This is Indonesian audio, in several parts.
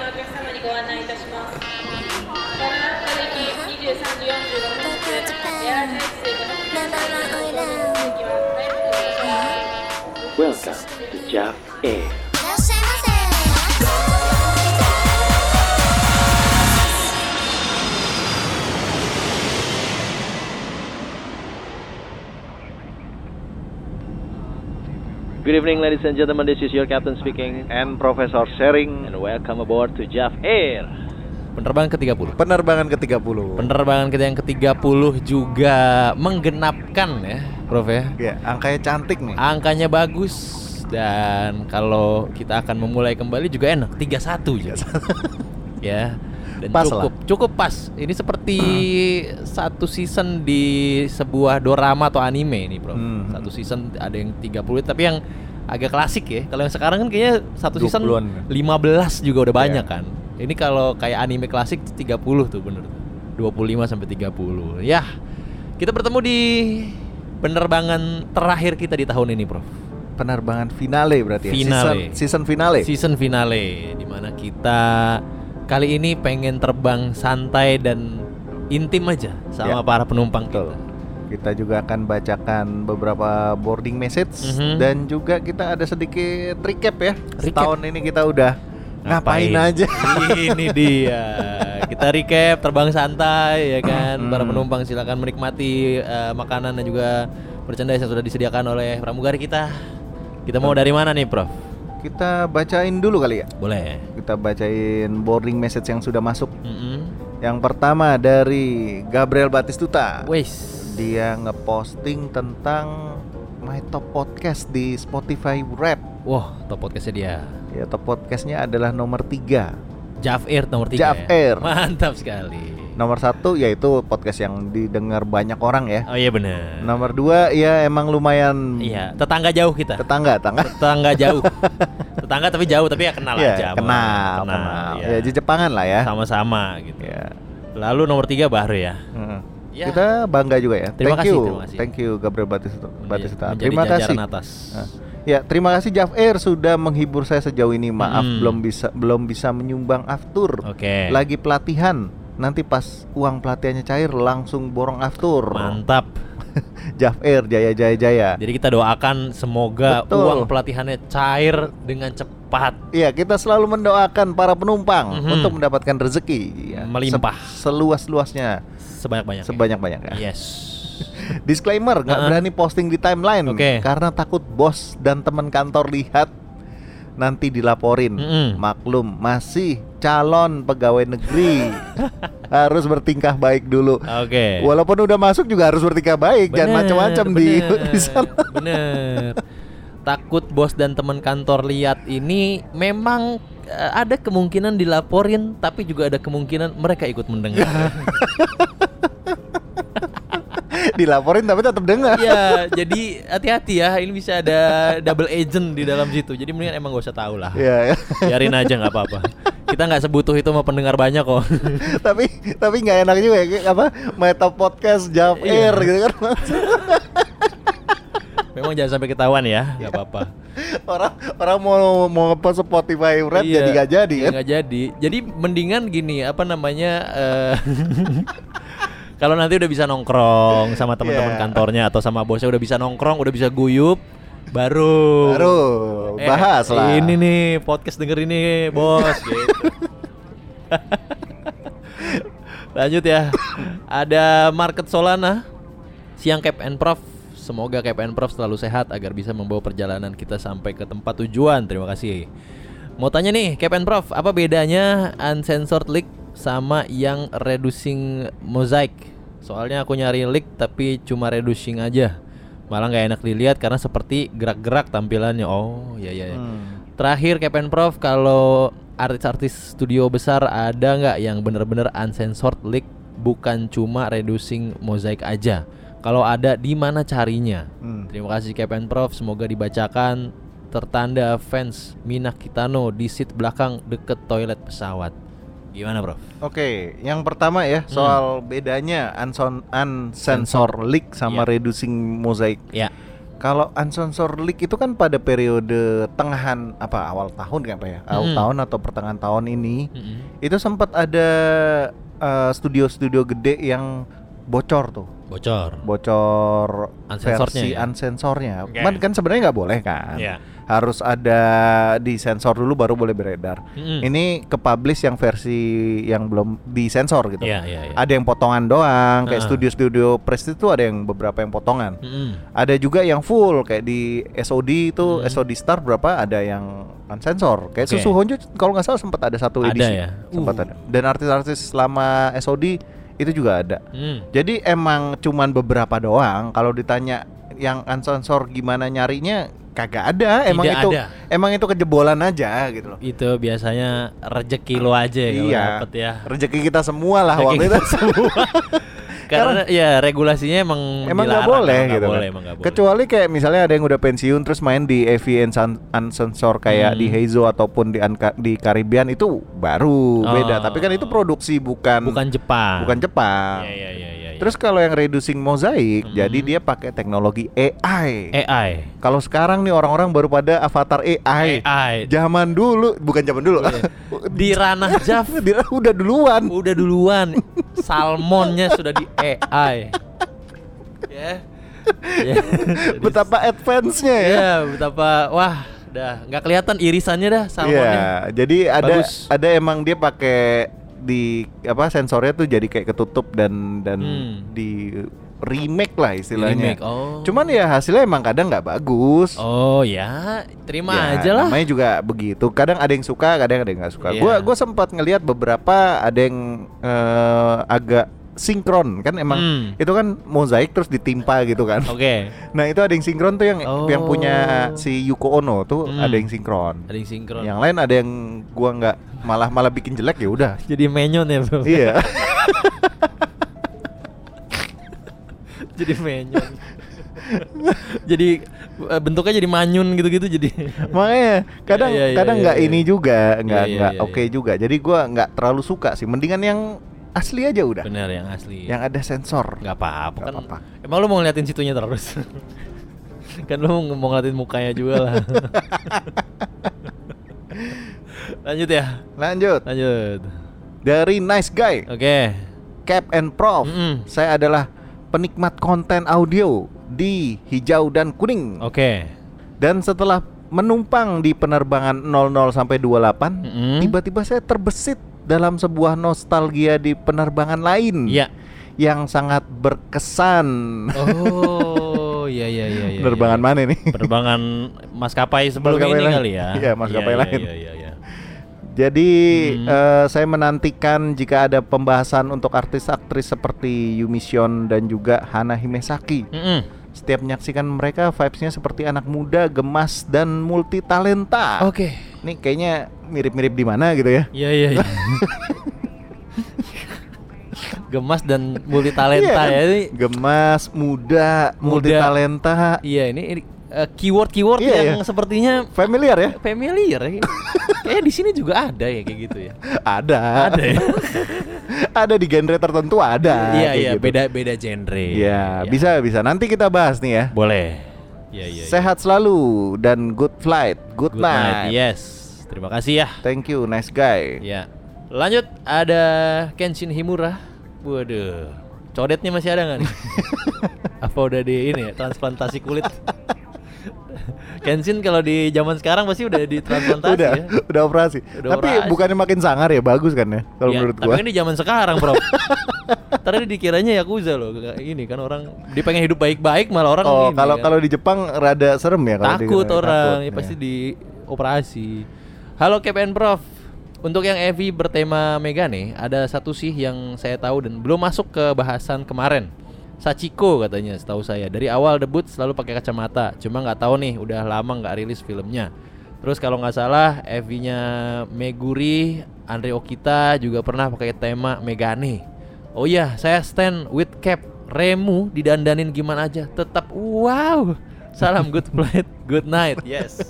ご案内いたしますご覧のために23時45分発エアータクシーご乗車のお席は早くお願いします Welcome to Jap いらっしゃ Air. いませ Good evening, ladies and gentlemen. This is your captain speaking, and Professor Sharing and welcome aboard to Jap Air. Penerbangan ke-30. penerbangan ke-30. Penerbangan ke yang ke-30 juga menggenapkan ya, Prof ya. Ya, angkanya cantik nih. Angkanya bagus dan kalau kita akan memulai kembali juga enak 31 ya. ya. Dan Pas Hmm. cukup cukup pas. Ini seperti satu season di sebuah dorama atau anime ini, Prof. Hmm. Satu season ada yang 30 tapi yang agak klasik ya. Kalau yang sekarang kan kayaknya satu season 20-an. 15 juga udah Iya. banyak kan. Ini kalau kayak anime klasik tuh 30 tuh bener. tuh. 25 sampai 30. Yah. Kita bertemu di penerbangan terakhir kita di tahun ini, Prof. Penerbangan finale berarti ya. Finale. Season, season finale. Season finale di mana kita kali ini pengen terbang santai dan intim aja sama Ya. para penumpang Betul. kita. Kita juga akan bacakan beberapa boarding message Mhm. dan juga kita ada sedikit recap ya. Recap. Setahun ini kita udah ngapain, aja. ini dia. Kita recap terbang santai ya kan. Mm-mm. Para penumpang silakan menikmati eh, makanan dan juga merchandise yang sudah disediakan oleh pramugari kita. Kita mau dari mana nih, Prof? Kita bacain dulu kali ya. Boleh. Kita bacain boarding message yang sudah masuk. Mm-mm. Yang pertama dari Gabriel Batistuta. Wes. Dia ngeposting tentang My Top Podcast di Spotify Rap. Wah, top podcastnya dia. Ya, top podcastnya adalah nomor 3 Jaf Air nomor 3 Jaf Air. Mantap sekali. Nomor satu yaitu podcast yang didengar banyak orang ya. Oh iya benar. Nomor dua ya emang lumayan Iya, tetangga jauh kita. tetangga, tetangga. Tetangga jauh. tetangga tapi jauh tapi ya kenal Ya, aja. kenal, Kenal, kenal. iya. Ya, Jepangan lah ya. Sama-sama gitu. Ya. Lalu nomor 3 Bahru ya. Heeh. Ya. Kita bangga juga ya. Terima thank kasih, you, terima kasih. thank you Gabriel Batista. Batista. Menjadi Terima jajaran kasih. atas. Nah, Ya, terima kasih Jaf Air sudah menghibur saya sejauh ini. Maaf Mm. belum bisa belum bisa menyumbang aftur. Oke. Lagi pelatihan. Nanti pas uang pelatihannya cair langsung borong aftur. Mantap. Jaf Air jaya jaya jaya. Jadi kita doakan semoga Betul. uang pelatihannya cair dengan cepat. Iya, kita selalu mendoakan para penumpang Mhm. untuk mendapatkan rezeki ya, Melimpah. Iya. se- seluas-luasnya, Sebanyak-banyaknya. sebanyak-banyaknya. Yes. Disclaimer, nggak Uh-uh. berani posting di timeline Oke. karena takut bos dan teman kantor lihat nanti dilaporin. Mm-mm. Maklum, masih calon pegawai negeri. harus bertingkah baik dulu. Oke. Walaupun udah masuk juga harus bertingkah baik, jangan Bener, macam-macam di bener, di sana. Bener. Takut bos dan teman kantor lihat ini memang eh, ada kemungkinan dilaporin, tapi juga ada kemungkinan mereka ikut mendengar. Dilaporin tapi tetap dengar. Iya, jadi hati-hati ya. Ini bisa ada double agent di dalam situ. Jadi mendingan emang gak usah tahu lah. Iya. ya. Biarin aja nggak apa-apa. Kita nggak sebutuh itu sama pendengar banyak kok. tapi tapi nggak enak juga ya kayak apa meta podcast jam Iya. air gitu kan Memang jangan sampai ketahuan ya, nggak apa-apa. orang orang mau mau ngepost Spotify Red Iya, jadi nggak jadi iya, kan nggak jadi. Jadi mendingan gini, apa namanya? eh, Kalau nanti udah bisa nongkrong sama teman-teman Iya. kantornya atau sama bosnya udah bisa nongkrong, udah bisa guyup, baru baru Eh, bahas lah Ini nih podcast denger ini, bos. gitu. Lanjut ya. Ada market Solana. Siang Cap and Prof. Semoga Cap and Prof selalu sehat agar bisa membawa perjalanan kita sampai ke tempat tujuan. Terima kasih. Mau tanya nih, Cap and Prof, apa bedanya uncensored leak sama yang reducing mosaic? Soalnya aku nyari leak tapi cuma reducing aja. Malah nggak enak dilihat karena seperti gerak-gerak tampilannya. Oh, ya ya. ya. Hmm. Terakhir Kepen Prof kalau artis-artis studio besar ada nggak yang bener-bener uncensored leak bukan cuma reducing mozaik aja? Kalau ada di mana carinya? Hmm. Terima kasih Kepen Prof, semoga dibacakan tertanda fans Minak Kitano di seat belakang deket toilet pesawat. Gimana Prof? Oke, yang pertama Hmm. ya soal bedanya unson, unsensor leak sama Iya. reducing mosaic. Ya. Kalau uncensored leak itu kan pada periode tengahan apa awal tahun kan Pak ya? Awal Mm. tahun atau pertengahan tahun ini Mm-mm. itu sempat ada eh, studio-studio gede yang bocor tuh, Bocor. bocor Unsensornya versi ya? unsensornya. Oke. Man, kan sebenarnya nggak boleh kan? Iya. Harus ada disensor dulu baru boleh beredar. Mm-mm. Ini ke publish yang versi yang belum disensor gitu. Iya, iya, iya. Ada yang potongan doang, kayak Ah. studio-studio press itu ada yang beberapa yang potongan. Mm-mm. Ada juga yang full kayak di SOD itu Hmm. SOD Star berapa ada yang unsensor. Kayak Oke. Susu Honjo kalau nggak salah sempat ada satu Ada edisi. ya? Sempat Uh. ada. Dan artis-artis selama SOD itu juga ada. Mm. Jadi emang cuman beberapa doang kalau ditanya yang unsensor gimana nyarinya kagak ada emang Tidak itu ada. emang itu kejebolan aja gitu loh. Itu biasanya rejeki lo aja ya kalau Iya. dapet ya. Rezeki kita semua lah Rezeki waktu itu. kita Karena ya regulasinya emang Emang nggak dilarang, boleh emang nggak gitu. kan. boleh, emang nggak boleh. Kecuali kayak misalnya ada yang udah pensiun terus main di AV and sun- Unsensor kayak Hmm. di Heizo ataupun di Anka- di Caribbean itu baru beda. Oh. Tapi kan itu produksi bukan bukan Jepang. bukan Jepang. Iya, iya, iya, iya, iya. Terus kalau yang reducing Hmm. mozaik, jadi dia pakai teknologi AI. AI. Kalau sekarang nih orang-orang baru pada avatar AI. AI. Zaman dulu, bukan zaman dulu. Di ranah Jav Dia udah duluan. Iya. udah duluan salmonnya sudah di AI. Ya. Ya. Jadi- Betapa advance-nya ya. Ya, betapa wah, dah nggak kelihatan irisannya dah salmonnya. Iya, jadi ada Bagus. ada emang dia pakai di apa sensornya tuh jadi kayak ketutup dan dan Hmm. di remake lah istilahnya. Remake, oh. Cuman ya hasilnya emang kadang nggak bagus. Oh ya, terima Ya, aja lah. Namanya juga begitu. Kadang ada yang suka, kadang ada yang nggak suka. Iya. Gua gua sempat ngelihat beberapa ada yang eh, agak sinkron kan emang Hmm. itu kan mozaik terus ditimpa gitu kan. Oke, Nah, itu ada yang sinkron tuh yang yang Oh. punya si Yuko Ono tuh Hmm. ada yang sinkron. ada yang sinkron. Yang lain ada yang gua nggak malah malah bikin jelek ya udah. Jadi menyon ya, Bro. iya. jadi menyon. jadi eh, bentuknya jadi manyun gitu-gitu jadi. Makanya kadang Iya, iya, iya, kadang nggak iya. ini juga, Iya, nggak iya, nggak iya, oke iya. juga. Jadi gua nggak terlalu suka sih. Mendingan yang asli aja udah. Bener yang asli. Yang ada sensor. nggak apa-apa Nggak kan. apa-apa. Emang lu mau ngeliatin situnya terus. kan lu mau- mau ngeliatin mukanya juga lah. Lanjut ya. Lanjut. Lanjut. Dari Nice Guy, Oke. Cap and Prof. Mm-mm. Saya adalah penikmat konten audio di hijau dan kuning. Oke. Dan setelah menumpang di penerbangan 00 sampai 28, Mm-mm. tiba-tiba saya terbesit dalam sebuah nostalgia di penerbangan lain Iya. yang sangat berkesan. Oh, iya iya iya iya. penerbangan iya. mana nih? Penerbangan maskapai sebelum Maskapai ini lain. kali ya. Iya, maskapai Iya, lain. Iya iya iya. Jadi Hmm. eh, saya menantikan jika ada pembahasan untuk artis aktris seperti Yumi Shion dan juga Hana Himesaki. Mm-mm. Setiap menyaksikan mereka vibesnya seperti anak muda, gemas dan multi talenta. Oke. Nih kayaknya mirip-mirip di mana gitu ya? Iya iya iya. Gemas dan multi talenta Iya kan? ya ini. Gemas, muda, multi talenta. Iya ini, ini eh, keyword-keyword Iya, yang iya. sepertinya Familiar ya? familiar ya. Kayaknya di sini juga ada ya kayak gitu ya. Ada. Ada ya. ada di genre tertentu ada. Iya kayak iya gitu. beda beda genre. Iya, bisa bisa. Nanti kita bahas nih ya. Boleh. Iya iya. iya. Sehat selalu dan good flight, good, Good night. iya. night. Yes. Terima kasih ya. Thank you, nice guy. Ya. Lanjut ada Kenshin Himura. Waduh. Codetnya masih ada nggak nih? Apa udah di ini ya transplantasi kulit? Kenshin kalau di zaman sekarang pasti udah ditransplantasi udah, ya. udah operasi. Udah tapi operasi. bukannya makin sangar ya, bagus kan ya kalau Ya, menurut tapi gua. kan di zaman sekarang, Bro. Tadi dikiranya yakuza loh. Kayak Ini kan orang dia pengen hidup baik-baik malah orang Oh, ini kalau kan. kalau di Jepang rada serem ya kalau di- takut orang ya ya. pasti di operasi. Halo KPN Prof. Untuk yang EV bertema Megane, ada satu sih yang saya tahu dan belum masuk ke bahasan kemarin. Sachiko katanya, setahu saya dari awal debut selalu pakai kacamata. Cuma nggak tahu nih, udah lama nggak rilis filmnya. Terus kalau nggak salah, EV-nya Meguri, Andre Okita juga pernah pakai tema Megane. Oh iya, saya stand with cap Remu didandanin gimana aja, tetap wow. Salam good flight, good night. Yes.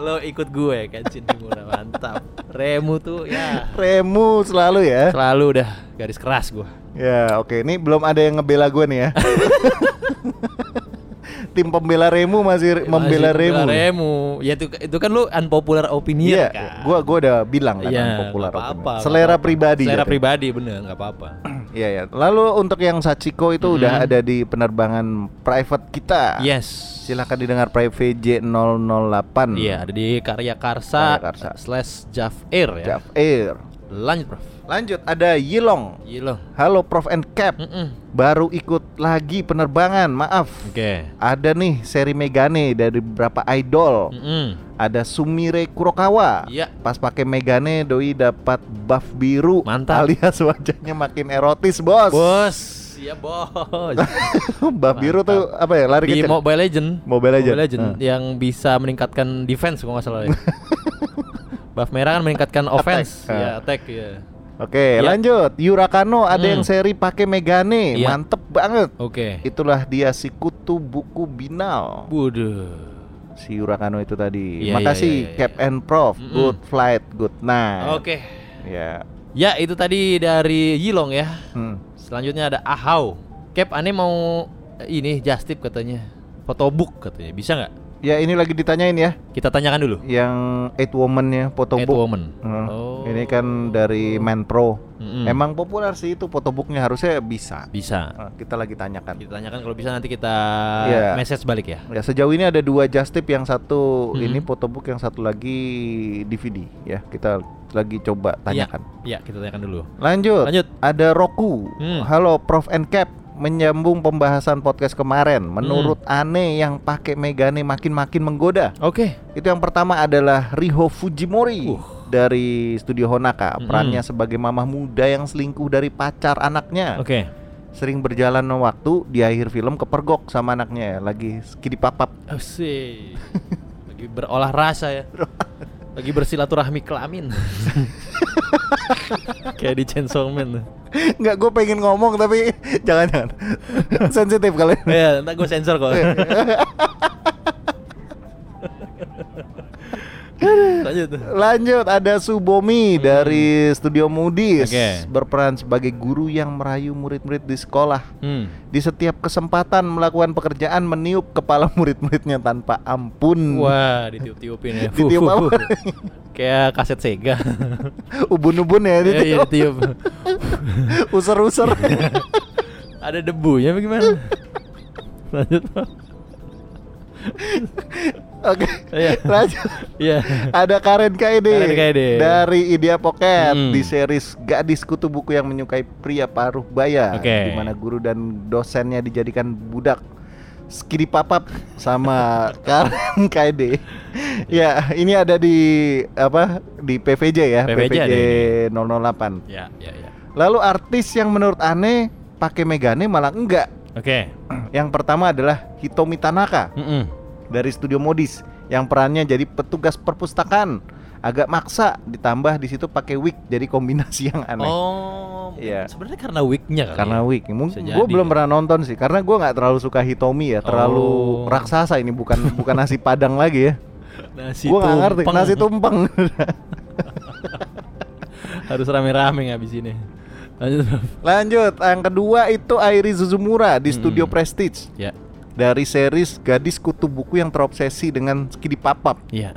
Lo ikut gue kan Himura mantap. Remu tuh ya Remu selalu ya. selalu dah garis keras gue. Ya, oke. Ini belum ada yang ngebela gue nih ya. tim pembela Remu masih Eh, membela Masih Remu. Remu. Ya itu, itu kan lu unpopular opinion Iya, kan. gua gua udah bilang kan Iya, populer. nggak apa-apa, Selera nggak apa-apa. pribadi. Selera Jatuh. pribadi bener nggak apa-apa. Iya ya. Lalu untuk yang Sachiko Mm-hmm. itu udah ada di penerbangan private kita. Yes. Silahkan didengar private J008. Iya, ada di Karya Karsa, Hmm. Karya Karsa. slash Jav Air ya. Jav Air. Lanjut, Prof. Lanjut ada Yilong. Gila. Halo Prof and Cap. Mm-mm. Baru ikut lagi penerbangan. Maaf. Oke. Ada nih seri Megane dari beberapa idol. Mm-mm. Ada Sumire Kurokawa. Iya. Pas pakai Megane doi dapat buff biru Mantap. alias wajahnya makin erotis, Bos. Bos, iya bos. buff biru tuh apa ya? Lari Di kecil. Mobile Legend. Mobile Legend. Ah. Heeh. yang bisa meningkatkan defense kalau nggak salah ya. Buff merah kan meningkatkan offense, Heeh. ya attack ya. Iya. Oke, lanjut. Yurakano ada Hmm. yang seri pakai Megane, Iya. mantep banget. Oke. Itulah dia si kutu buku binal. Waduh. Si Yurakano itu tadi. Iya, iya, Makasih iya, iya, Cap and Prof. Mm-mm. Good flight, good night. Oke. Ya. Ya, itu tadi dari Yilong ya. Hmm. Selanjutnya ada Ahau. Cap aneh mau eh, ini Justip katanya. Photobook katanya. Bisa nggak? Ya ini lagi ditanyain ya, Kita tanyakan dulu. yang Eight Woman-nya photobook. Catwoman. Hmm. Oh. Ini kan dari Man Pro. Mm-mm. Emang populer sih itu photobooknya harusnya bisa. Bisa. Nah, kita lagi tanyakan. Kita tanyakan kalau bisa nanti kita Iya. message balik ya. Ya sejauh ini ada dua just tip yang satu Mhm. ini photobook yang satu lagi DVD ya kita lagi coba tanyakan. Iya, kita tanyakan dulu. Lanjut. Lanjut. Ada Roku. Hmm. Halo Prof and Cap. Menyambung pembahasan podcast kemarin, menurut Ane yang pakai Megane makin-makin menggoda. Oke. Itu yang pertama adalah Riho Fujimori Uh. dari studio Honaka, Mm-mm. perannya sebagai mamah muda yang selingkuh dari pacar anaknya. Oke. Sering berjalan waktu di akhir film kepergok sama anaknya lagi skidipapap Asik. Lagi berolah rasa ya. Lagi bersilaturahmi kelamin. Kayak di Chainsaw Man. tuh. Enggak, gue pengen ngomong tapi jangan-jangan sensitif kalian. Ya, entar gue sensor kok. Iya. Lanjut. Lanjut ada Subomi dari studio Moody's Oke. berperan sebagai guru yang merayu murid-murid di sekolah. Hmm. Di setiap kesempatan melakukan pekerjaan meniup kepala murid-muridnya tanpa ampun. Wah, ditiup-tiupin ya. Fuh, Ditiup fuh, apa? fuh. Kayak kaset Sega. Ubun-ubun Iya, ya iya itu. ditiup. User-user. Ada debunya apa gimana? Lanjut. Pak. Oke. Iya. Lanjut. Iya. Ada Karen Kaede, Karen Kaede. dari Idea Pocket Hmm. di series Gadis Kutu Buku yang menyukai pria paruh baya, Oke. di mana guru dan dosennya dijadikan budak. Skidi papap sama Karen Kaede. ya, Iya. ini ada di apa? Di PVJ ya, PVJ ada 008. Ya, ya, ya. Lalu artis yang menurut aneh pakai Megane malah enggak. Oke. Yang pertama adalah Hitomi Tanaka Mm-mm. dari studio Modis yang perannya jadi petugas perpustakaan agak maksa ditambah di situ pakai wig jadi kombinasi yang aneh Oh, Kan Iya. sebenarnya karena wignya kali. karena ya? wig Bisa mungkin jadi gue belum ya. pernah nonton sih karena gue nggak terlalu suka Hitomi ya terlalu Oh. raksasa ini bukan bukan nasi padang lagi ya nasi gue nggak ngerti tumpeng. nasi tumpeng harus rame-rame ngabisinnya. Lanjut. Prof. lanjut yang kedua itu Airi Suzumura di studio Mm-mm. Prestige Ya, dari series gadis kutu buku yang terobsesi dengan skidi papap iya.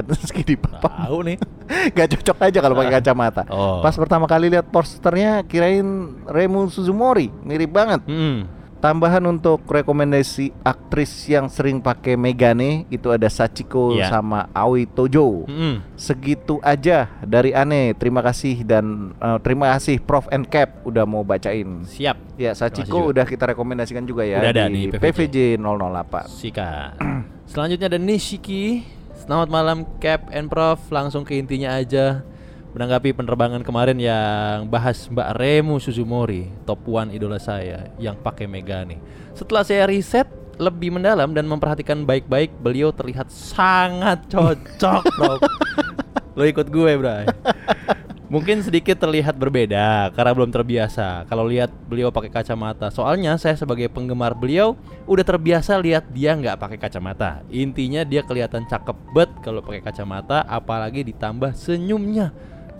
kata skidi papap Tahu nih. gak cocok aja kalau pakai kacamata. Oh. Pas pertama kali lihat posternya kirain Remu Suzumori, mirip banget. Mm. Tambahan untuk rekomendasi aktris yang sering pakai Megane itu ada Sachiko Iya. sama Aoi Tojo. Mm. Segitu aja dari Ane. Terima kasih dan eh, terima kasih Prof and Cap udah mau bacain. Siap. Terima kasih Ya, Sachiko juga. udah kita rekomendasikan juga ya Udah ada di, di PVJ PVJ 008. Sikat. Selanjutnya ada Nishiki. Selamat malam Cap and Prof. Langsung ke intinya aja. Menanggapi penerbangan kemarin yang bahas Mbak Remu Suzumori, top one idola saya yang pakai Megane. Setelah saya riset lebih mendalam dan memperhatikan baik-baik, beliau terlihat sangat cocok, Prof. Lo ikut gue, Bray. Mungkin sedikit terlihat berbeda karena belum terbiasa. Kalau lihat beliau pakai kacamata, soalnya saya sebagai penggemar beliau udah terbiasa lihat dia nggak pakai kacamata. Intinya dia kelihatan cakep bet kalau pakai kacamata, apalagi ditambah senyumnya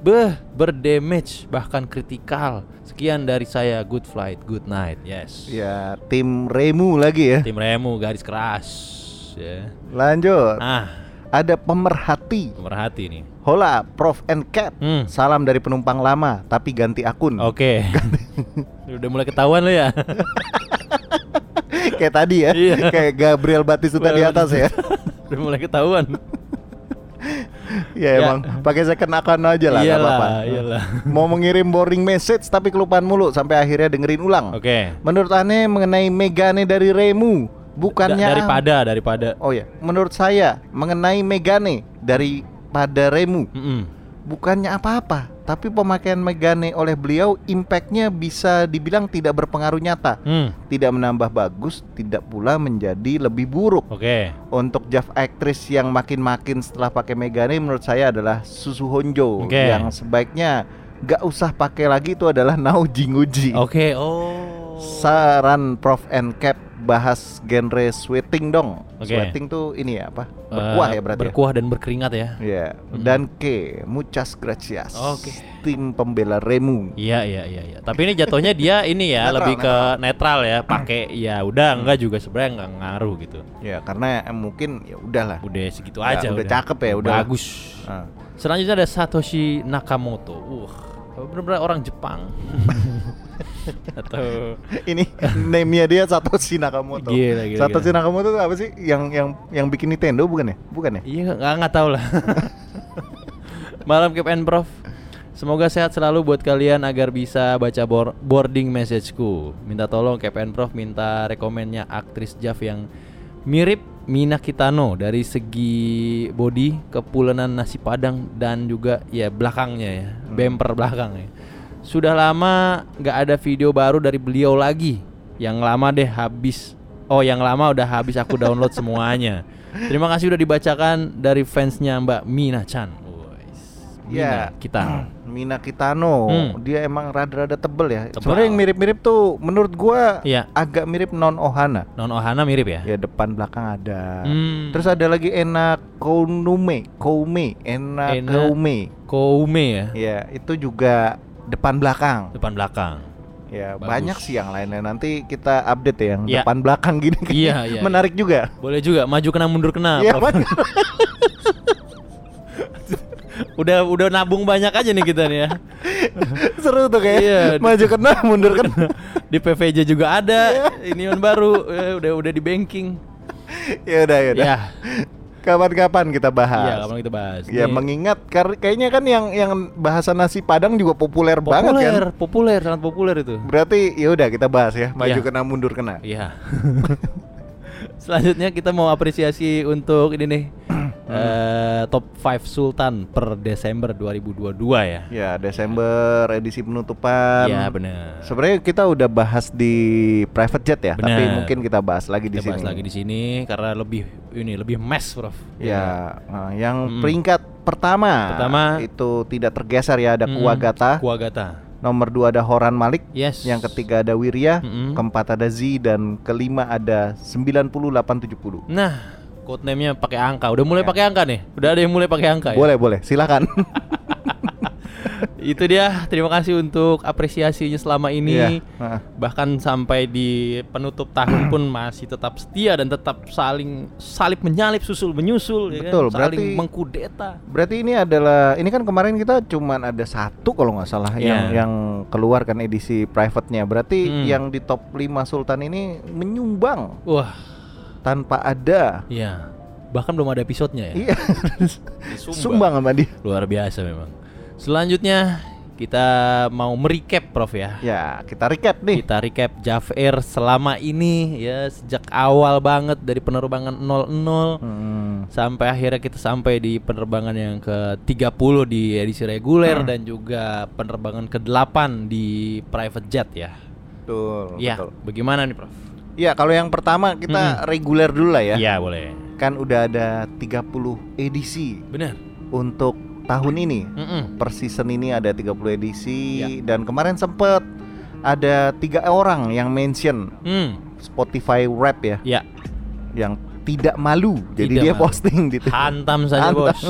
Beh, berdamage bahkan kritikal. Sekian dari saya. Good flight, good night. Yes. Ya, tim Remu lagi ya. Tim Remu garis keras. Ya. Lanjut. Ah, Ada pemerhati. pemerhati nih. Hola, Prof and Cat. Hmm. Salam dari penumpang lama tapi ganti akun. Oke. Udah mulai ketahuan lo ya. Kayak tadi ya. Iya. Kayak Gabriel Batistuta di atas ya. Udah mulai ketahuan. Ya. Ya emang pakai second account aja lah nggak Iyalah, apa-apa. iyalah. Mau mengirim boring message tapi kelupaan mulu sampai akhirnya dengerin ulang. Oke. Menurut Ane mengenai Megane dari Remu bukannya Da- daripada daripada. Oh ya, menurut saya mengenai Megane daripada Remu Mm-mm. bukannya apa-apa, tapi pemakaian Megane oleh beliau impactnya bisa dibilang tidak berpengaruh nyata, Hmm. tidak menambah bagus, tidak pula menjadi lebih buruk. Oke. Untuk Jav aktris yang makin-makin setelah pakai Megane menurut saya adalah Susu Honjo Oke. yang sebaiknya gak usah pakai lagi itu adalah Nao Jinguji. Oke. Oh. Saran Prof and Cap bahas genre sweating dong. Oke. Sweating tuh ini ya apa? Eh, Berkuah ya berarti. ya? Berkuah dan berkeringat ya. Ya. Dan K, muchas gracias. Oke. Tim pembela Remu. Iya iya iya iya. Tapi ini jatuhnya dia ini ya Netral, lebih ke netral ya, pakai ya udah enggak juga sebenarnya enggak ngaruh gitu. Ya, karena eh, mungkin ya udahlah. Udah segitu Ya, aja udah cakep ya, udah. Bagus. Ah. Selanjutnya ada Satoshi Nakamoto. Uh, benar-benar orang Jepang. Atau ini name-nya dia Satoshi Nakamoto. Gila, gila, Satoshi gila. Nakamoto itu apa sih? Yang yang yang bikin Nintendo bukan ya? Bukan ya? Iya nggak nggak tahu lah. Malam Cap and Prof. Semoga sehat selalu buat kalian agar bisa baca bor- boarding messageku. Minta tolong Cap and Prof minta rekomennya aktris Jav yang mirip Mina Kitano dari segi body, kepulenan nasi padang dan juga ya belakangnya ya, bumper belakang ya. Sudah lama nggak ada video baru dari beliau lagi. Yang lama deh habis. Oh, yang lama udah habis aku download semuanya. Terima kasih udah dibacakan dari fansnya Mbak Mina Chan. Wois, Mina Ya. kita. Mina Kitano, Hmm. dia emang rada-rada tebel ya. Tebal. Sebenarnya yang mirip-mirip tuh menurut gua Iya. agak mirip Non Ohana. Non Ohana mirip ya? Ya depan belakang ada. Hmm. Terus ada lagi enak Kounume, Koume, enak Ena- Koume. Koume ya? Ya, itu juga depan belakang. Depan belakang. Ya, Bagus. banyak sih yang lainnya. Nanti kita update ya yang Ya. depan belakang gini. Iya, iya, iya. Menarik juga. Boleh juga maju kena mundur kena. Iya, Prof. udah udah nabung banyak aja nih kita nih ya. Seru tuh kayak Iya. maju kena mundur kena. Di PVJ juga ada. Iya. Ini yang baru eh, udah udah di banking. ya udah ya udah. Ya. Kapan-kapan kita Iya, bahas. kapan kita bahas. Ya, Nih, mengingat kar- kayaknya kan yang yang bahasa nasi Padang juga populer, banget kan. populer, populer, sangat populer itu. Berarti ya udah kita bahas ya, maju Iya. kena mundur kena. Iya. Selanjutnya kita mau apresiasi untuk ini nih. eh, top 5 Sultan per Desember 2022 ya. Ya, Desember edisi penutupan. Iya, benar. Sebenarnya kita udah bahas di private jet ya, tapi Benar. mungkin kita bahas lagi di Kita sini. bahas lagi di sini karena lebih ini lebih mes, Prof. Ya, nah, yang Mm. peringkat pertama, Pertama. itu tidak tergeser ya ada Mm-mm. Kuwagata, Kuagata. nomor dua ada Horan Malik, Yes. yang ketiga ada Wirya, Mm-mm. keempat ada Z dan kelima ada 9870. Nah, code name-nya pakai angka. Udah mulai pakai angka nih. Udah ada yang mulai pakai angka ya. Iya. Boleh, boleh, silakan. Itu dia. Terima kasih untuk apresiasinya selama ini. Iya, heeh. Bahkan sampai di penutup tahun pun masih tetap setia dan tetap saling salip menyalip, susul menyusul, ya kan? Betul, saling berarti- mengkudeta. Berarti ini adalah ini kan kemarin kita cuman ada satu kalau nggak salah yang Iya. yang keluar kan edisi private-nya. Berarti Hmm. yang di top 5 Sultan ini menyumbang Wah, tanpa ada iya. Bahkan belum ada episodenya ya. iya Disumbang. sumbang sama dia. Luar biasa memang. Selanjutnya kita mau merecap Prof ya. Ya, kita recap nih. Kita recap Jav Air selama ini ya sejak awal banget dari penerbangan 00 Hmm, sampai akhirnya kita sampai di penerbangan yang ke-30 di edisi reguler Hmm. dan juga penerbangan ke-8 di private jet ya. betul, ya, Oh, betul. bagaimana nih, Prof? Ya, kalau yang pertama Hmm. kita reguler dulu lah ya. boleh. Kan udah ada 30 edisi Benar. untuk tahun ini. Mm-mm. Per season ini ada 30 Ya. edisi dan kemarin sempet ada tiga orang yang mention Hmm. Spotify Rap ya Ya, yang tidak malu. Jadi Tidak dia malu. posting di Twitter. hantam saja, Hantam. Bos.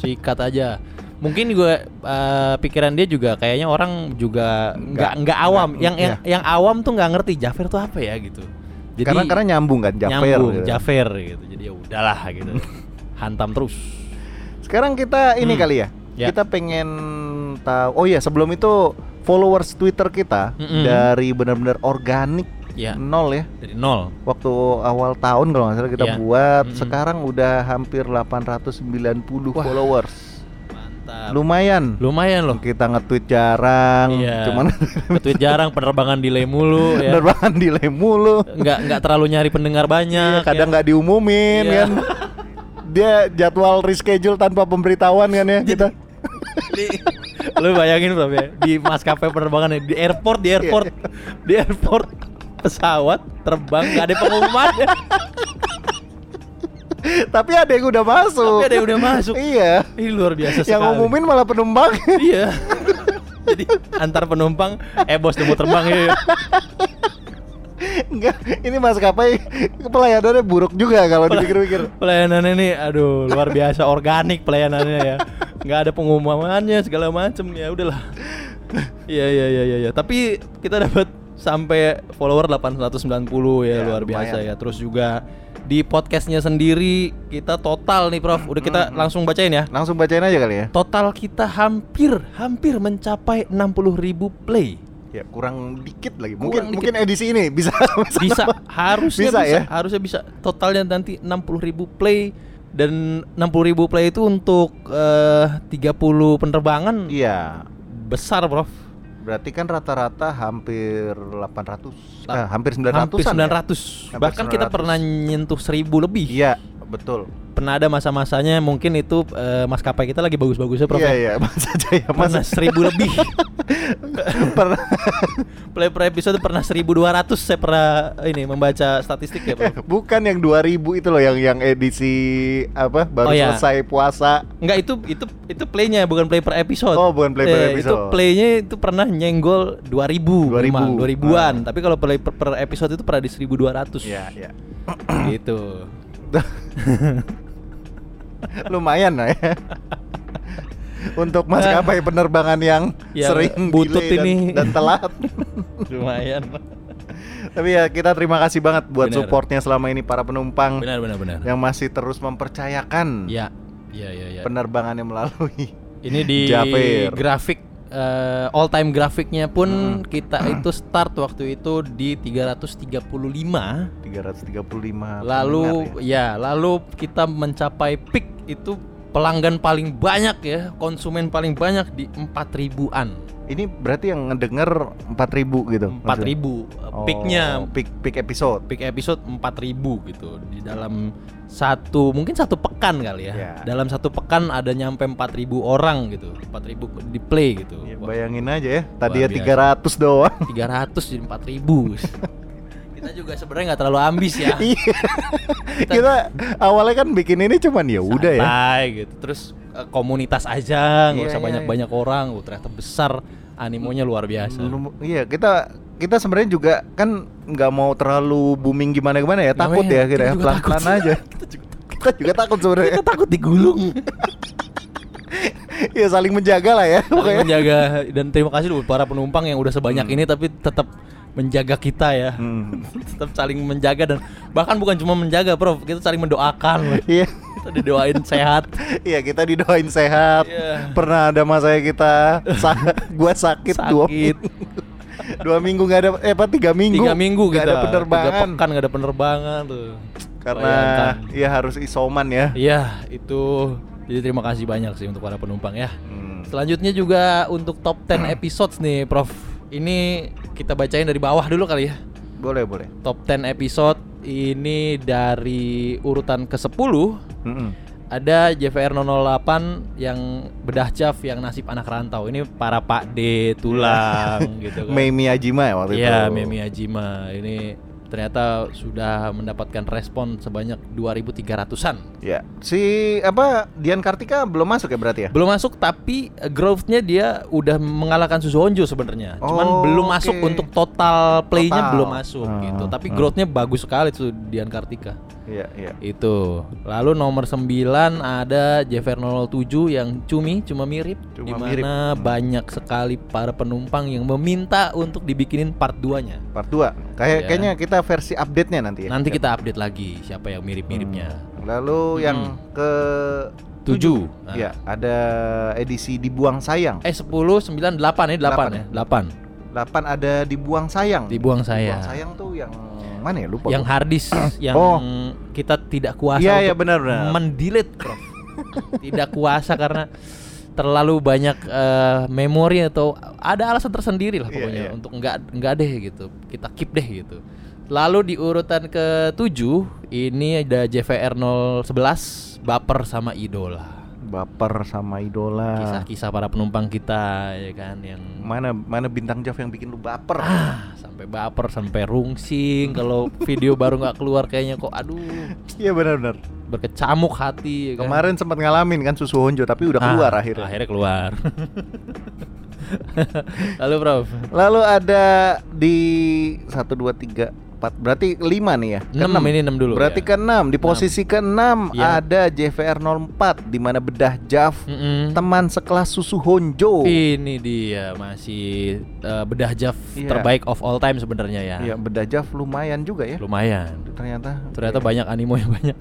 Sikat aja. Mungkin juga eh, pikiran dia juga kayaknya orang juga nggak nggak awam. yang yang yang awam tuh nggak ngerti Jafir tuh apa ya gitu. Jadi iya. karena karena nyambung kan Jafir. nyambung, gitu. Jafir gitu. Jadi ya udahlah gitu. Hantam terus. Sekarang kita ini Hmm. kali ya. Ya. Kita pengen tahu. Oh iya, sebelum itu followers Twitter kita Mm-mm. dari benar-benar organik Ya, nol ya. dari nol. Waktu awal tahun kalau nggak salah kita Ya. buat. Mm-mm. Sekarang udah hampir 890 Wah. followers. Mantap. Lumayan. Lumayan loh. Kita nge-tweet jarang. Iya. Cuman Tweet jarang penerbangan delay mulu ya. penerbangan delay mulu. Nggak nggak terlalu nyari pendengar Iya, banyak. kadang ya. nggak diumumin Iya. kan. Dia jadwal reschedule tanpa pemberitahuan kan ya kita. Di- lu bayangin Prof ya di maskapai penerbangan ya, di airport di airport Iya. di airport pesawat terbang gak ada pengumuman ya. Tapi ada yang udah masuk. tapi ada yang udah masuk Iya. ini luar biasa sekali Yang ngumumin malah penumpang. iya jadi antar penumpang eh bos udah mau terbang ya Enggak, ini maskapai pelayanannya buruk juga kalau dipikir-pikir. pelayanannya ini aduh luar biasa organik pelayanannya ya nggak ada pengumumannya segala macem ya udahlah iya iya iya iya, iya tapi kita dapat sampai follower 890 ya, Ya, luar biasa ya lumayan. terus juga di podcastnya sendiri kita total nih Prof udah kita langsung bacain ya Langsung bacain aja kali ya. total kita hampir hampir mencapai 60.000 play Ya kurang dikit lagi. Kurang Mungkin dikit. mungkin edisi ini bisa bisa harusnya bisa, Bisa ya? harusnya bisa totalnya nanti 60.000 play dan 60.000 play itu untuk eh, 30 penerbangan Iya. besar prof Berarti kan rata-rata hampir 800. La- eh, hampir 900-an. hampir 900 ya? Hampir bahkan kita 900. pernah nyentuh 1000 lebih Iya, betul. pernah ada masa-masanya mungkin itu eh, maskapai kita lagi bagus-bagusnya prof Iya, ya. iya, Mas Jaya Mas. pernah 1000 lebih Pernah play per episode pernah 1200 saya pernah ini membaca statistik ya prof bukan yang 2000 itu loh yang yang edisi apa baru Oh, iya. selesai puasa. Enggak itu itu itu playnya bukan play per episode. Eh, Oh, bukan play per Itu episode. playnya itu pernah nyenggol 2000, 2000. 2000 an Tapi kalau play per, per episode itu pernah di 1200. Ah. Iya, iya. Gitu. Lumayan lah ya. Untuk maskapai penerbangan yang Eh. Ya, sering butut delay dan- ini. dan, telat. Lumayan. Tapi ya kita terima kasih banget buat Bener. supportnya selama ini para penumpang Benar benar benar. yang masih terus mempercayakan Ya. Ya ya ya. penerbangan yang melalui. Ini di Jafir. grafik eh, all time grafiknya Hmm. pun kita itu start waktu itu di 335 335 lalu pendengar ya. ya. lalu kita mencapai peak itu pelanggan paling banyak ya konsumen paling banyak di 4000-an ini berarti yang ngedenger 4000 gitu. 4000 maksudnya? eh, peaknya Oh, peak peak episode. peak episode 4000 gitu di dalam satu mungkin satu pekan kali ya Ya. dalam satu pekan ada nyampe 4000 orang gitu 4000 di play gitu Ya, Wah, bayangin aja ya, tadi ya biasa. 300 doang. 300 jadi 4000 kita juga sebenarnya nggak terlalu ambis ya Iya. Kita awalnya kan bikin ini cuman ya udah ya. santai gitu terus eh, komunitas aja nggak Iya, usah iya, banyak banyak orang oh, ternyata besar animonya luar biasa Belum- Iya, kita kita sebenarnya juga kan nggak mau terlalu booming gimana gimana ya, takut Namanya, ya kita ya, Iya, juga pelan-pelan takut. aja. kita juga takut. Kita juga takut sebenarnya. Kita takut digulung ya saling menjaga lah ya. Saling Pokoknya. menjaga dan terima kasih buat para penumpang yang udah sebanyak ini tapi tetap menjaga kita ya Hmm. tetap saling menjaga dan bahkan bukan cuma menjaga prof kita saling mendoakan Iya. kita didoain sehat Iya, kita didoain sehat. Iya. Pernah ada masanya kita sa- gua sakit, dua Sakit. dua minggu nggak ada eh apa tiga minggu tiga minggu nggak kita ada penerbangan tiga pekan nggak ada penerbangan tuh karena Bayangkan. ya harus isoman ya Iya, itu. Jadi terima kasih banyak sih untuk para penumpang ya. Hmm. Selanjutnya juga untuk top 10 episodes nih, Prof. Ini kita bacain dari bawah dulu kali ya. boleh boleh Top 10 episode ini dari urutan ke-10 Mm-mm. ada JVR 008 yang bedah Jav yang nasib anak rantau. Ini para Pak D tulang gitu kan. Mei Miyajima ya waktu itu Iya, Memi Ajima. Ini ternyata sudah mendapatkan respon sebanyak 2.300-an. Ya, si apa Dian Kartika belum masuk ya berarti ya? Belum masuk tapi eh, growth-nya dia udah mengalahkan Susu Honjo sebenarnya. Cuman Oh, belum oke. masuk untuk total play-nya Total. belum masuk Ah, gitu. Tapi ah. growth-nya bagus sekali tuh Dian Kartika. Iya, iya. Itu. Lalu nomor 9 ada Jever 007 yang cumi cuma mirip Cuma di mirip. mana banyak sekali para penumpang yang meminta untuk dibikinin part 2-nya. Part 2. Kayak Iya. kayaknya kita versi update-nya nanti ya. Nanti kita update lagi siapa yang mirip-miripnya. Lalu yang ke Hmm. Tujuh. Nah. Ya, ada edisi dibuang sayang. Eh 10, 9, 8 ya, 8 ya, 8. 8 ada dibuang sayang. Dibuang Hmm. saya. Dibuang sayang tuh yang mana ya lupa. Yang gua. hardis yang Oh. kita tidak kuasa Iya, iya, untuk benar, benar. mendelete, Prof. tidak kuasa karena terlalu banyak eh, memori atau ada alasan tersendiri lah Iya, pokoknya iya. untuk enggak enggak deh gitu. Kita keep deh gitu. Lalu di urutan ke-7 ini ada JVR 011 Baper sama Idola. baper sama idola. kisah-kisah para penumpang kita ya kan yang Mana mana bintang Jav yang bikin lu baper? ah, sampai baper sampai rungsing kalau video baru nggak keluar kayaknya kok aduh Iya benar-benar. berkecamuk hati ya kan. Kemarin sempat ngalamin kan susu honjo tapi udah Ah, keluar akhirnya. akhirnya keluar lalu prof Lalu ada di 1 2 3 4 berarti 5 nih ya. 6 Keenam. ini 6 dulu Berarti ya. keenam di posisi keenam Iya. ada JVR 04 di mana bedah Jav Mm-mm. teman sekelas susu honjo. ini dia masih eh, bedah Jav Iya. terbaik of all time sebenarnya ya Iya, bedah Jav lumayan juga ya. lumayan Ternyata Ternyata banyak animo yang banyak.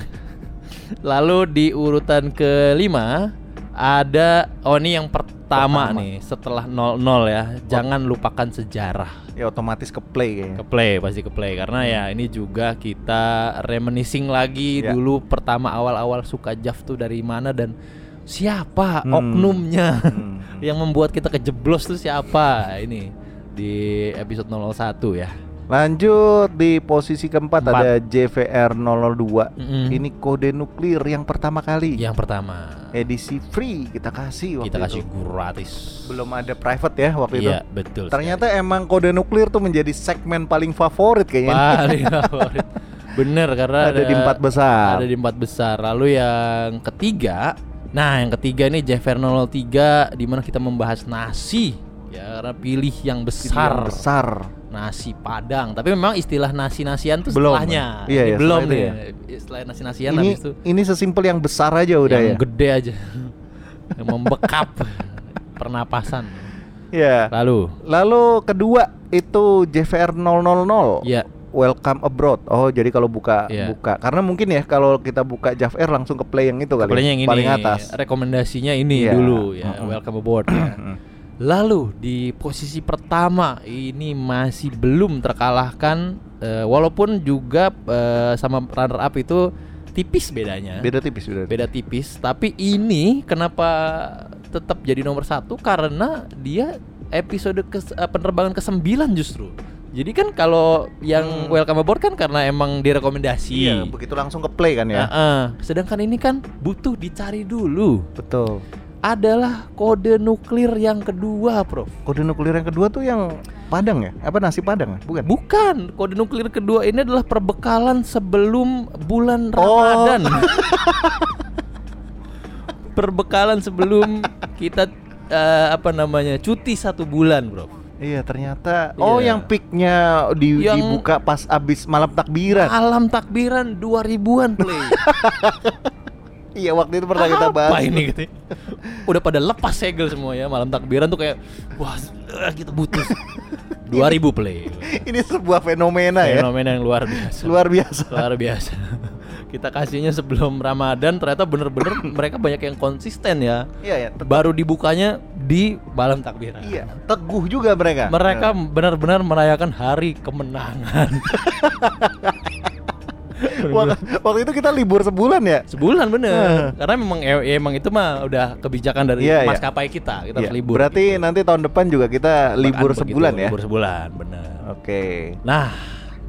Lalu di urutan kelima ada oh ini yang pertama, Pertama. Oh. nih setelah 00 ya. Jangan lupakan sejarah. ya otomatis ke play kayaknya. Ke play pasti ke play karena ya ini juga kita reminiscing lagi Hmm. Ya. dulu pertama awal-awal suka Jaf tuh dari mana dan siapa Hmm. oknumnya Hmm. yang membuat kita kejeblos tuh siapa ini di episode 001 ya. Lanjut di posisi keempat Empat. ada JVR 002. Mm-mm. Ini kode nuklir yang pertama kali. Yang pertama Edisi free kita kasih waktu kita kasih itu. gratis. Belum ada private ya waktu itu. Iya betul. Ternyata emang kode nuklir tuh menjadi segmen paling favorit kayaknya. paling favorit. Bener karena Ada di empat besar. Ada di empat besar. Lalu yang ketiga, nah yang ketiga ini Jever 03 di mana kita membahas nasi. Ya karena pilih yang Gitu, yang besar. besar. Nasi Padang. Tapi memang istilah nasi-nasian tuh Belum. setelahnya. Iya, Ini iya, belum setelah nih. itu Istilah nasi-nasian Ini habis itu ini sesimpel yang besar aja udah yang ya. gede aja. yang membekap pernapasan. Iya. Lalu Lalu kedua itu JVR 000. ya Welcome abroad. Oh, jadi kalau buka Iya. buka karena mungkin ya kalau kita buka JVR langsung ke play yang itu kali. Kepalanya ya, yang ini Iya. paling atas. Rekomendasinya ini Iya. dulu ya Mm-mm. Welcome aboard ya. Lalu di posisi pertama ini masih belum terkalahkan eh, Walaupun juga eh, sama runner up itu tipis bedanya Beda tipis beda. Beda tipis Tapi ini kenapa tetap jadi nomor satu Karena dia episode kes- eh, penerbangan ke sembilan justru jadi kan kalau yang welcome aboard kan karena emang direkomendasi. Hmm. Iya, begitu langsung ke play kan ya. Heeh. Sedangkan ini kan butuh dicari dulu. Betul. Adalah kode nuklir yang kedua, Prof. Kode nuklir yang kedua tuh yang Padang ya? Apa nasi Padang ya? Bukan. Bukan, kode nuklir kedua ini adalah perbekalan sebelum bulan Oh. Ramadan. perbekalan sebelum kita eh, apa namanya? cuti satu bulan, Prof. Iya, ternyata Oh, Iya. yang peaknya di, Yang- dibuka pas abis malam takbiran. Alam takbiran 2000-an play. Iya, waktu itu pernah kita bahas. Apa ini gitu. Udah pada lepas segel semua ya malam takbiran tuh kayak wah eh, kita butuh 2000 play. Ini sebuah fenomena ya. fenomena yang luar biasa Luar biasa. Luar biasa kita kasihnya sebelum Ramadan ternyata bener-bener mereka banyak yang konsisten ya Iya ya, te- baru dibukanya di malam takbiran iya, teguh juga mereka. mereka benar-benar merayakan hari kemenangan Iya. Wak- waktu itu kita libur sebulan ya. sebulan bener karena memang ya- ya emang itu mah udah kebijakan dari Iya, iya. maskapai kita kita Iya, harus libur Berarti nanti tahun depan juga kita Bahkan libur begitu, sebulan ya. libur sebulan bener Oke. nah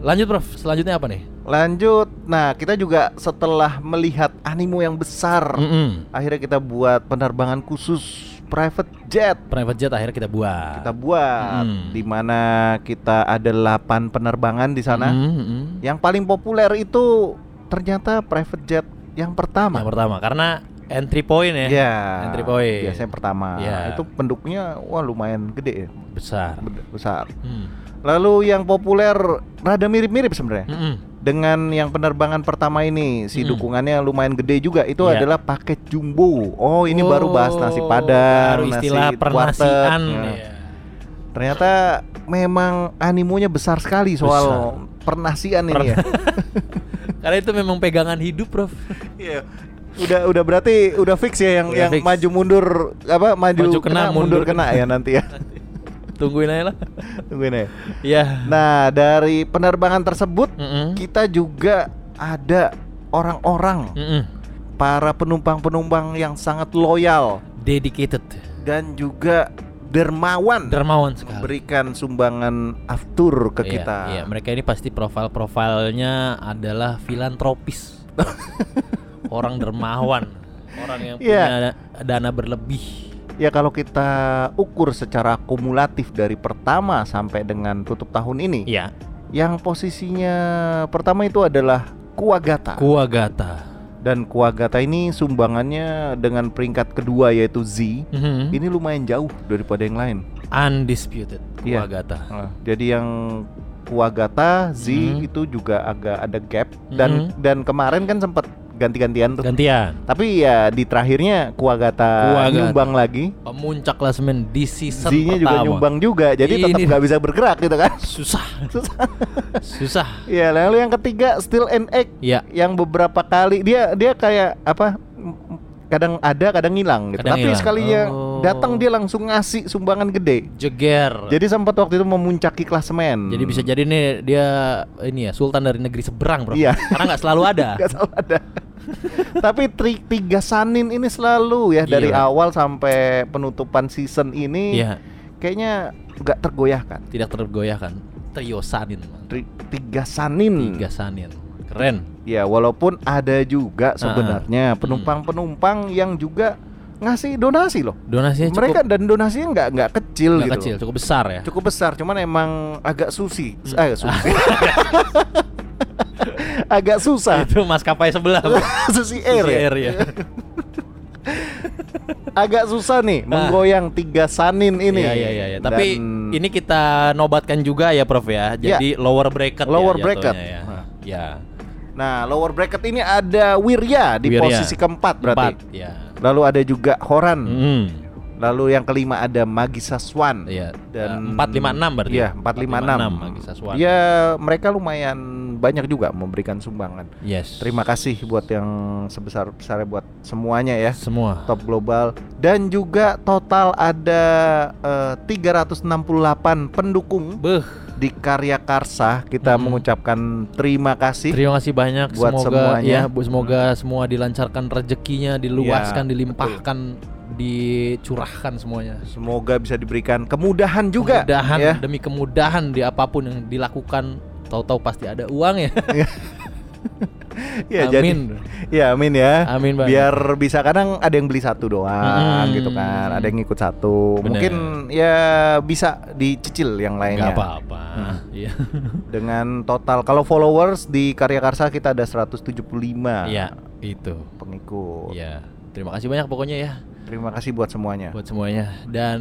lanjut prof selanjutnya apa nih Lanjut. Nah, kita juga setelah melihat animo yang besar, Mm-mm. akhirnya kita buat penerbangan khusus private jet Private jet akhirnya kita buat. kita buat Mm. di mana kita ada 8 penerbangan di sana. Mm, mm, mm. Yang paling populer itu ternyata private jet yang Yang pertama. pertama karena entry point ya. Ya, entry point. biasanya pertama. Ya. Itu penduknya wah lumayan gede ya, Besar. bed- besar. Mm. Lalu yang populer rada mirip-mirip sebenarnya. Mm-mm. Dengan yang penerbangan pertama ini, si Mm. dukungannya lumayan gede juga. Itu Iya. adalah paket jumbo. Oh, ini baru bahas nasi Oh, padang, Baru istilah nasi pernasian. warteg. Ya. ya. Ternyata memang animonya besar sekali soal pernasian ini ya. Karena itu memang pegangan hidup, Prof. Iya. udah udah berarti udah fix ya yang Udah yang fix. maju mundur apa maju, Maju kena, kena, mundur mundur kena, ya nanti ya. Tungguin aja lah. Tungguin ya. Iya. Nah, dari penerbangan tersebut Mm-mm. kita juga ada orang-orang Mm-mm. para penumpang-penumpang yang sangat loyal Dedicated. dan juga dermawan Dermawan sekali. memberikan sumbangan aftur ke Iya, kita. Iya, mereka ini pasti profil-profilnya adalah filantropis. Orang dermawan, orang yang Iya. punya dana berlebih. Ya kalau kita ukur secara kumulatif dari pertama sampai dengan tutup tahun ini, Iya, yang posisinya pertama itu adalah Kuagata. Kuagata. Dan Kuagata ini sumbangannya dengan peringkat kedua yaitu Z. Mhm. Ini lumayan jauh daripada yang lain. Undisputed Iya. Kuagata. Jadi yang Kuagata, Z Mhm. itu juga agak ada gap Mhm. dan dan kemarin kan sempat ganti-gantian tuh. Gantian. Tapi ya di terakhirnya Kuagata, Kuwagata. nyumbang lagi. Pemuncak klasemen di season Z-nya juga pertama. nyumbang juga. Jadi tetap Ini- nggak bisa bergerak gitu kan. Susah. Susah. Susah. Ya, lalu yang ketiga Still and Egg Ya, yang beberapa kali dia dia kayak apa m- m- kadang ada kadang hilang gitu. Kadang Tapi hilang. sekalinya Oh. datang dia langsung ngasih sumbangan gede. jeger. Jadi, Jadi sempat waktu itu memuncaki klasemen. bisa jadi nih dia ini ya sultan dari negeri seberang, Bro. Iya. Karena nggak selalu ada. Nggak salah ada. Tapi tri, tiga sanin ini selalu ya dari Gila. awal sampai penutupan season ini Iya, kayaknya nggak tergoyahkan. tidak tergoyahkan. Trio Sanin. man. Tri, tiga sanin. Tiga Sanin. Keren. Ya walaupun ada juga Hmm. sebenarnya penumpang-penumpang yang juga ngasih donasi loh. Donasinya Iya, cukup Mereka dan donasinya nggak nggak kecil nggak gitu. kecil, cukup besar ya. Cukup besar, cuman emang agak susi, Hmm. eh, susi. agak susah. Itu maskapai sebelah. susi air ya. Air ya. Agak susah nih menggoyang tiga sanin ini. Ah. Iya iya iya. iya. Tapi Dan Iya. ini kita nobatkan juga ya, Prof ya. Jadi lower bracket. ya Lower jatuhnya bracket. Ya. Nah. ya. Nah, lower bracket ini ada Wirya di Wirya. posisi keempat berarti. Hmm. Empat, Ya. Lalu ada juga Horan. Mm. Lalu yang kelima ada Magisa Swan. Iya. Dan- Empat lima enam berarti. ya? Iya, 456. Bagi Saswan. Ya, mereka lumayan banyak juga memberikan sumbangan. Yes. Terima kasih buat yang sebesar-besarnya buat semuanya ya. Semua. Top global dan juga total ada eh, 368 pendukung Beh, di Karya Karsa. Kita Mm-mm. mengucapkan terima kasih. Hmm. terima kasih banyak. Buat semoga ya, semuanya. bu, semoga semua dilancarkan rezekinya, diluaskan, Ya, dilimpahkan, dicurahkan semuanya. Semoga bisa diberikan kemudahan juga kemudahan ya. demi kemudahan di apapun yang dilakukan tahu-tahu pasti ada uang ya Ya, jadi- amin ya amin ya. amin banget biar bisa kadang ada yang beli satu doang Mm-mm. gitu kan ada yang ikut satu Bener. mungkin ya bisa dicicil yang nggak lainnya apa-apa Nah. Iya. dengan total kalau followers di Karya Karsa kita ada 175 Iya, itu Nah. pengikut ya terima kasih banyak pokoknya ya terima kasih buat semuanya buat semuanya dan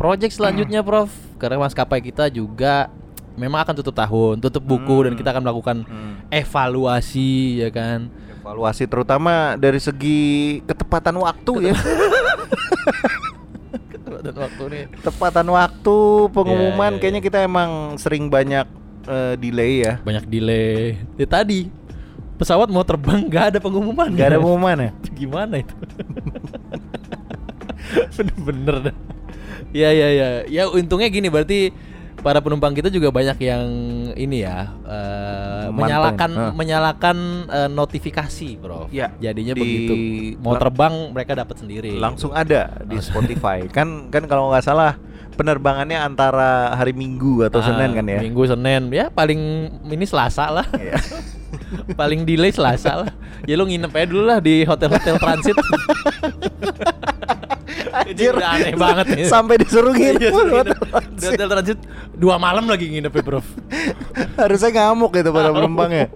project selanjutnya prof karena maskapai kita juga memang akan tutup tahun tutup buku dan kita akan melakukan Hmm. evaluasi ya kan evaluasi terutama dari segi ketepatan waktu ya dan waktu nih ketepatan waktu pengumuman iya, kayaknya kita emang sering banyak eh, delay ya banyak delay ya tadi pesawat mau terbang nggak ada pengumuman Gak ada pengumuman ya Itu gimana itu? Bener-bener dah. Ya ya ya. Ya untungnya gini berarti para penumpang kita juga banyak yang ini ya eh, Mantengin, menyalakan ah. menyalakan eh, notifikasi, Bro. Ya, Jadinya di- begitu. Mau lang- terbang mereka dapat sendiri. langsung ada di Spotify kan kan kalau nggak salah penerbangannya antara hari Minggu atau Ah, Senin kan ya Minggu Senin. Ya paling ini Selasa lah. Iya. paling delay Selasa lah. Ya lu nginep aja dulu lah di hotel-hotel transit. Anjir. udah aneh banget ini. Sampai disuruh Iya, gitu. suruh nginep. Di hotel transit dua malam lagi nginep ya, Prof. Harusnya ngamuk gitu pada penumpangnya.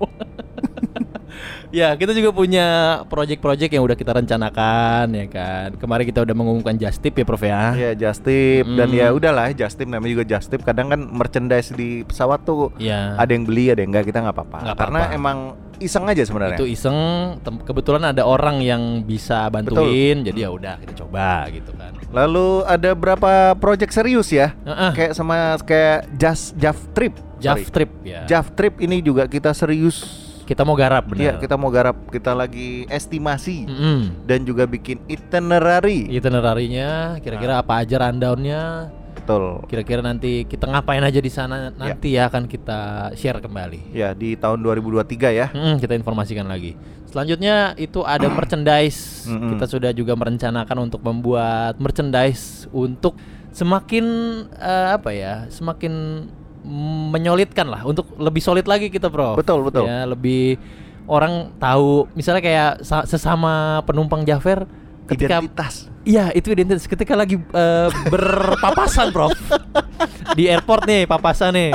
ya, kita juga punya project-project yang udah kita rencanakan ya kan. Kemarin kita udah mengumumkan Just Tip ya, Prof ya. Ya Justip dan Hmm. ya udahlah Justip namanya juga Justip kadang kan merchandise di pesawat tuh Iya. ada yang beli ada yang enggak kita nggak apa-apa Nggak karena apa-apa. emang iseng aja sebenarnya Itu iseng tem- kebetulan ada orang yang bisa bantuin, jadi ya udah kita coba gitu kan. lalu ada berapa project serius ya Heeh. kayak sama kayak Just Jav Trip Jav sorry. Trip ya. Jav Trip ini juga kita serius Kita mau garap Iya benar. Hmm. kita mau garap kita lagi estimasi Mm-mm. dan juga bikin itinerary Iya. Itinerarinya kira-kira apa aja rundownnya betul kira-kira nanti kita ngapain aja di sana nanti ya akan kita share kembali. ya di tahun 2023 ya Mm, kita informasikan lagi. Selanjutnya itu ada merchandise. Mm-mm. Kita sudah juga merencanakan untuk membuat merchandise untuk semakin eh, apa ya? Semakin menyolidkan lah untuk lebih solid lagi kita, Bro. Betul, betul. Ya, lebih orang tahu misalnya kayak sa- sesama penumpang Jafer ketika identitas Iya, itu identitas ketika lagi eh, berpapasan, Prof. Di airport nih, papasan nih.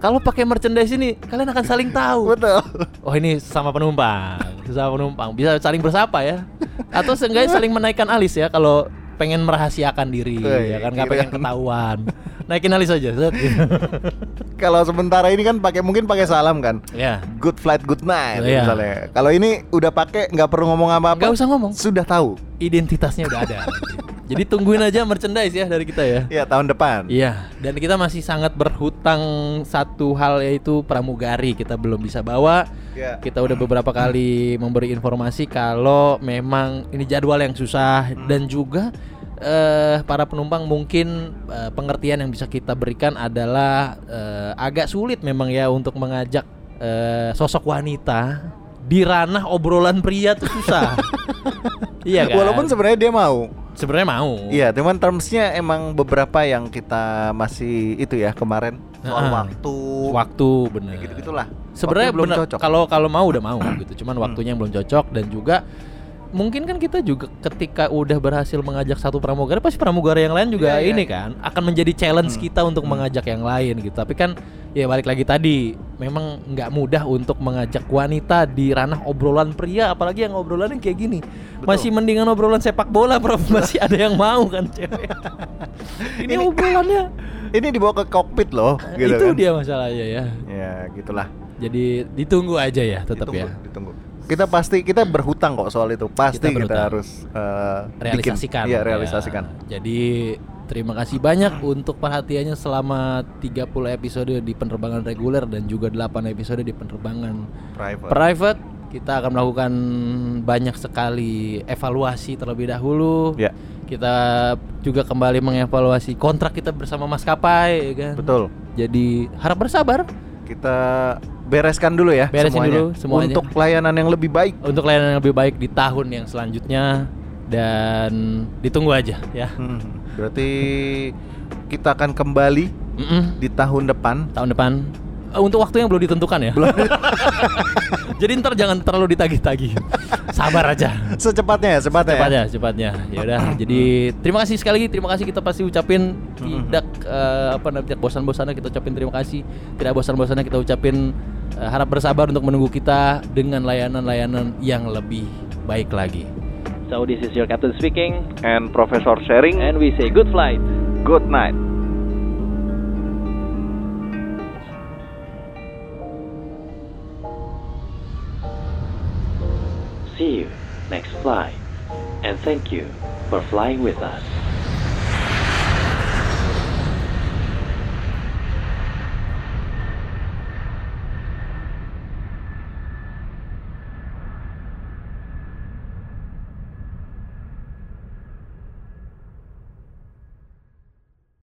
Kalau pakai merchandise ini, kalian akan saling tahu. betul Oh, ini sama penumpang, sama penumpang. Bisa saling bersapa ya. Atau seenggaknya saling menaikkan alis ya kalau pengen merahasiakan diri, Eh, ya kan nggak kira- pengen ketahuan. Naikin alis aja. set. kalau sementara ini kan pakai mungkin pakai salam kan ya. good flight good night Iya. misalnya. Kalau ini udah pakai nggak perlu ngomong apa-apa. Nggak usah ngomong. Sudah tahu. Identitasnya udah ada. Jadi tungguin aja merchandise ya dari kita ya. Ya tahun depan. Iya, dan kita masih sangat berhutang satu hal yaitu pramugari kita belum bisa bawa. Iya. Kita udah beberapa kali memberi informasi kalau memang ini jadwal yang susah Hmm. dan juga eh para penumpang mungkin eh, pengertian yang bisa kita berikan adalah eh, agak sulit memang ya untuk mengajak eh, sosok wanita di ranah obrolan pria tuh susah. iya kan? Walaupun sebenarnya dia mau. sebenarnya mau. Iya, cuman termsnya emang beberapa yang kita masih itu ya kemarin soal Heeh. waktu, Waktu bener. gitu gitulah. sebenarnya Waktu belum bener, cocok. kalau kalau mau udah mau gitu cuman waktunya yang belum cocok dan juga mungkin kan kita juga ketika udah berhasil mengajak satu pramugari pasti pramugari yang lain juga Iya, Hmm. iya. ini kan akan menjadi challenge kita untuk mengajak yang lain gitu tapi kan ya balik lagi tadi memang nggak mudah untuk mengajak wanita di ranah obrolan pria apalagi yang obrolan yang kayak gini masih mendingan obrolan sepak bola bro masih ada yang mau kan cewek ini, Ini- obrolannya Ini dibawa ke kokpit loh, Nah, gitu itu kan. dia masalahnya ya Ya, gitulah. jadi ditunggu aja ya tetap ditunggu, ya ditunggu. Kita pasti kita berhutang kok soal itu. Pasti kita, berhutang. harus eh, bikin. realisasikan. Iya, realisasikan. Ya. Jadi terima kasih banyak untuk perhatiannya selama 30 episode di penerbangan reguler dan juga 8 episode di penerbangan Private. private. Kita akan melakukan banyak sekali evaluasi terlebih dahulu. Ya. Kita juga kembali mengevaluasi kontrak kita bersama maskapai ya kan. Betul. Jadi harap bersabar kita bereskan dulu ya Beresin semuanya. dulu semuanya. untuk pelayanan yang lebih baik untuk layanan yang lebih baik di tahun yang selanjutnya dan ditunggu aja ya. Hmm, berarti kita akan kembali Mm-mm. di tahun depan tahun depan Eh, untuk waktu yang belum ditentukan ya jadi ntar jangan terlalu ditagih-tagih sabar aja secepatnya ya secepatnya, ya. cepatnya cepatnya ya udah jadi terima kasih sekali lagi terima kasih kita pasti ucapin tidak eh, apa namanya tidak bosan-bosannya kita ucapin terima kasih tidak bosan-bosannya kita ucapin eh, harap bersabar untuk menunggu kita dengan layanan-layanan yang lebih baik lagi So this is your captain speaking, and Professor Sharing. and we say good flight. Good night. See you next flight, and thank you for flying with us.